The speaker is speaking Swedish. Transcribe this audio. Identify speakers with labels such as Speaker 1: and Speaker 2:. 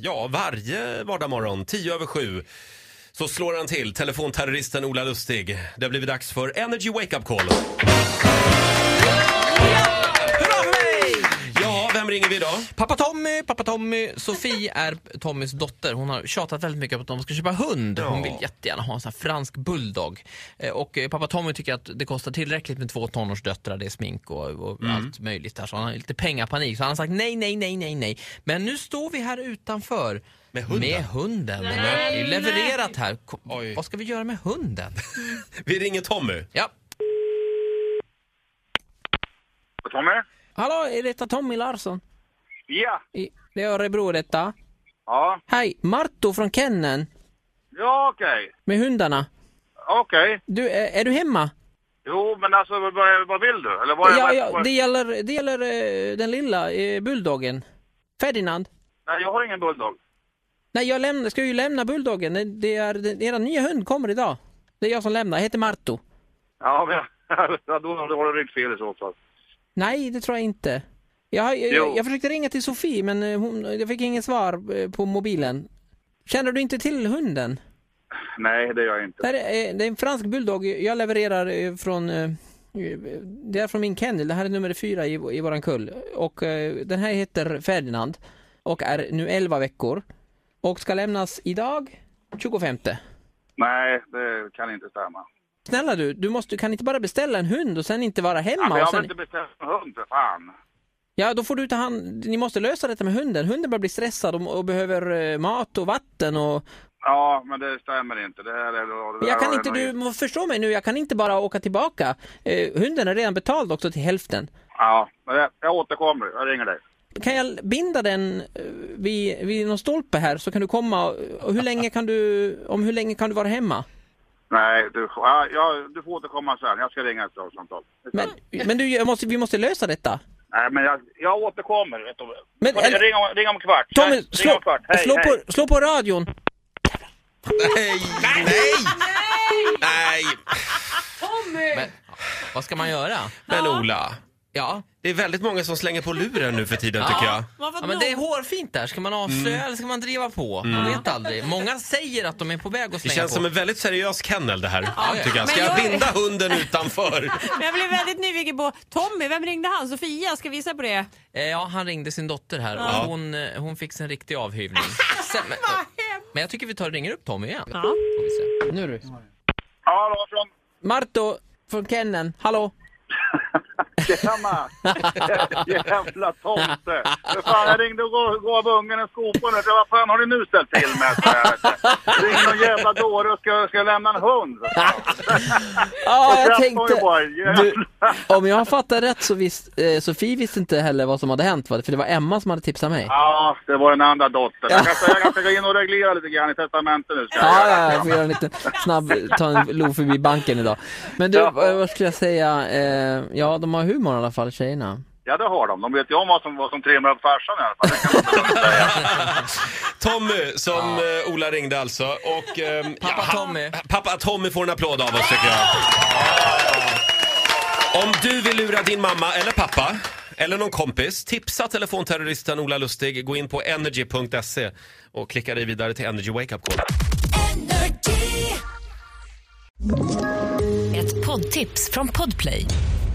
Speaker 1: ja, varje vardagsmorgon, 10 över 7, så slår han till, telefonterroristen Ola Lustig. Det har blivit dags för Energy Wake Up Call. Ja, vem ringer vi idag?
Speaker 2: Pappa Tommy, pappa Tommy. Sofie är Tommys dotter. Hon har tjatat väldigt mycket på att de ska köpa hund. Hon vill jättegärna ha en sån här fransk bulldog. Eh, Och eh, pappa Tommy tycker att det kostar tillräckligt med två tonårsdöttrar, det är smink och, och
Speaker 1: Mm.
Speaker 2: allt möjligt där. Så han har lite pengapanik. Så han har sagt nej, nej, nej, nej, nej. Men nu står vi här utanför.
Speaker 1: Med hunden?
Speaker 2: Med hunden. Den är ju levererat här. Ko-
Speaker 1: Oj.
Speaker 2: Vad ska vi göra med hunden?
Speaker 1: Vi ringer Tommy.
Speaker 2: Ja.
Speaker 3: Tommy?
Speaker 4: Hallå, är detta Tommy Larsson?
Speaker 3: Ja.
Speaker 4: I- Det är Örebro detta.
Speaker 3: Ja.
Speaker 4: Hej, Marto från Kennen
Speaker 3: Ja, okej.
Speaker 4: med hundarna.
Speaker 3: Okej.
Speaker 4: Du, är, är du hemma?
Speaker 3: Jo, men alltså vad, vad- vad vill du? Eller vad
Speaker 4: Ja,
Speaker 3: vad-
Speaker 4: ja,
Speaker 3: vad-
Speaker 4: det gäller, det gäller eh, den lilla eh, bulldoggen. Ferdinand.
Speaker 3: Nej, jag har ingen bulldog.
Speaker 4: Nej, jag lämna, ska ju lämna bulldoggen. Det- Det är, det, era nya hund kommer idag. Det är jag som lämnar. Jag heter Marto.
Speaker 3: Ja, men ja, då har du ringt fel i så fall.
Speaker 4: Nej, det tror jag inte. Jag, har- jag,
Speaker 3: Jo.
Speaker 4: jag, jag försökte ringa till Sofie, men eh, hon, jag fick inget svar eh, på mobilen. Känner du inte till hunden?
Speaker 3: Nej, det gör jag inte.
Speaker 4: Det, här är, eh, det är en fransk bulldog. Jag levererar eh, från... eh, Det är från min kennel. Det här är nummer fyra i, i våran kull. Och eh, den här heter Ferdinand och är nu 11 veckor. Och ska lämnas idag, 25.
Speaker 3: Nej, det kan inte stämma.
Speaker 4: Snälla du, du måste, du kan inte bara beställa en hund och sen inte vara
Speaker 3: Ja,
Speaker 4: hemma.
Speaker 3: men jag
Speaker 4: och
Speaker 3: har väl
Speaker 4: sen,
Speaker 3: inte beställt en hund, för fan.
Speaker 4: ja, då får du ta hand... Ni måste lösa detta med hunden. Hunden börjar bli stressad och, och behöver eh, mat och vatten och...
Speaker 3: Ja, men det stämmer inte. Det här är... Det där
Speaker 4: Jag kan
Speaker 3: har
Speaker 4: inte,
Speaker 3: nog-
Speaker 4: du må förstå mig nu, jag kan inte bara åka tillbaka. Eh, hunden är redan betald också till hälften.
Speaker 3: Ja, men jag, jag återkommer. Jag ringer dig.
Speaker 4: Kan jag binda den eh, vid, vid någon stolpe här så kan du komma och och hur länge kan du, om hur länge kan du vara hemma?
Speaker 3: Nej, du, ja, jag, du får återkomma sen. Jag ska ringa ett samtal.
Speaker 4: Men, men du, jag måste, vi måste lösa detta.
Speaker 3: Nej, men jag, jag återkommer. Vet du.
Speaker 4: Men,
Speaker 3: Får ni
Speaker 4: eller-
Speaker 3: ringa, om- ringa om en kvart. Nej,
Speaker 4: Tommy,
Speaker 3: ringa om
Speaker 4: slå,
Speaker 3: en kvart. Hej,
Speaker 4: slå,
Speaker 3: hej.
Speaker 4: på, slå på radion.
Speaker 1: Nej! Nej! Nej!
Speaker 2: Men, ja, vad ska man göra?
Speaker 1: Men Ola,
Speaker 2: Ja,
Speaker 1: det är väldigt många som slänger på luren nu för tiden tycker jag.
Speaker 5: Man har
Speaker 2: Ja,
Speaker 5: fått
Speaker 2: men
Speaker 5: nog.
Speaker 2: det är hårfint där. Ska man avslöja
Speaker 1: Mm.
Speaker 2: eller ska man driva på? Man vet aldrig. Många säger att de är på väg att
Speaker 1: Det
Speaker 2: slänga
Speaker 1: känns
Speaker 2: på.
Speaker 1: som en väldigt seriös kennel det här,
Speaker 2: Ja,
Speaker 1: tycker jag. Ska
Speaker 5: men
Speaker 1: jag
Speaker 5: jag-
Speaker 1: binda hunden utanför?
Speaker 5: Men jag blev väldigt nyfiken på Tommy, vem ringde han? Sofia, ska vi gissa på det?
Speaker 2: Eh, Ja, han ringde sin dotter här och hon, eh, hon fick en riktig avhyvning. Sen, men, men jag tycker vi tar och ringer upp Tommy igen.
Speaker 5: Ja.
Speaker 2: Får vi se.
Speaker 4: Nu du.
Speaker 3: Ja, Larsson.
Speaker 4: Marto från Kennen, hallå?
Speaker 3: Tjena! Jävla tomte! För fan, jag ringde och gav- gav ungen en skopa nu. Vad fan har du nu ställt till med? sa jag. Ring någon jävla dåre och ska, ska lämna en hund.
Speaker 4: Ja, jag
Speaker 3: Träffa
Speaker 4: tänkte...
Speaker 3: Göteborg.
Speaker 4: Du, om jag fattar rätt så visst, eh, Sofie visste inte heller vad som hade hänt va? För det var Emma som hade tipsat mig.
Speaker 3: Ja, det var den andra dottern. Jag kanske, jag kanske ska gå in och reglera lite grann i testamentet nu. Ska jag.
Speaker 4: Ja,
Speaker 3: göra.
Speaker 4: ja, jag får göra en liten snabb, ta en lo förbi banken idag. Men du,
Speaker 3: Ja.
Speaker 4: vad vad skulle jag säga? Eh, ja, de har humor i alla fall, tjejerna.
Speaker 3: ja, det har de. De vet ju om vad som, vad som trimmar upp farsan i alla fall. Det kan man väl säga.
Speaker 1: Tommy, som eh, Ola ringde alltså. Och, ehm,
Speaker 2: Pappa
Speaker 1: han-
Speaker 2: Tommy.
Speaker 1: Pappa Tommy får en applåd av oss tycker jag. Om du vill lura din mamma eller pappa eller någon kompis, tipsa telefonterroristen Ola Lustig. Gå in på energy.se och klicka dig vidare till Energy Wake Up Call.
Speaker 6: Ett poddtips från Podplay.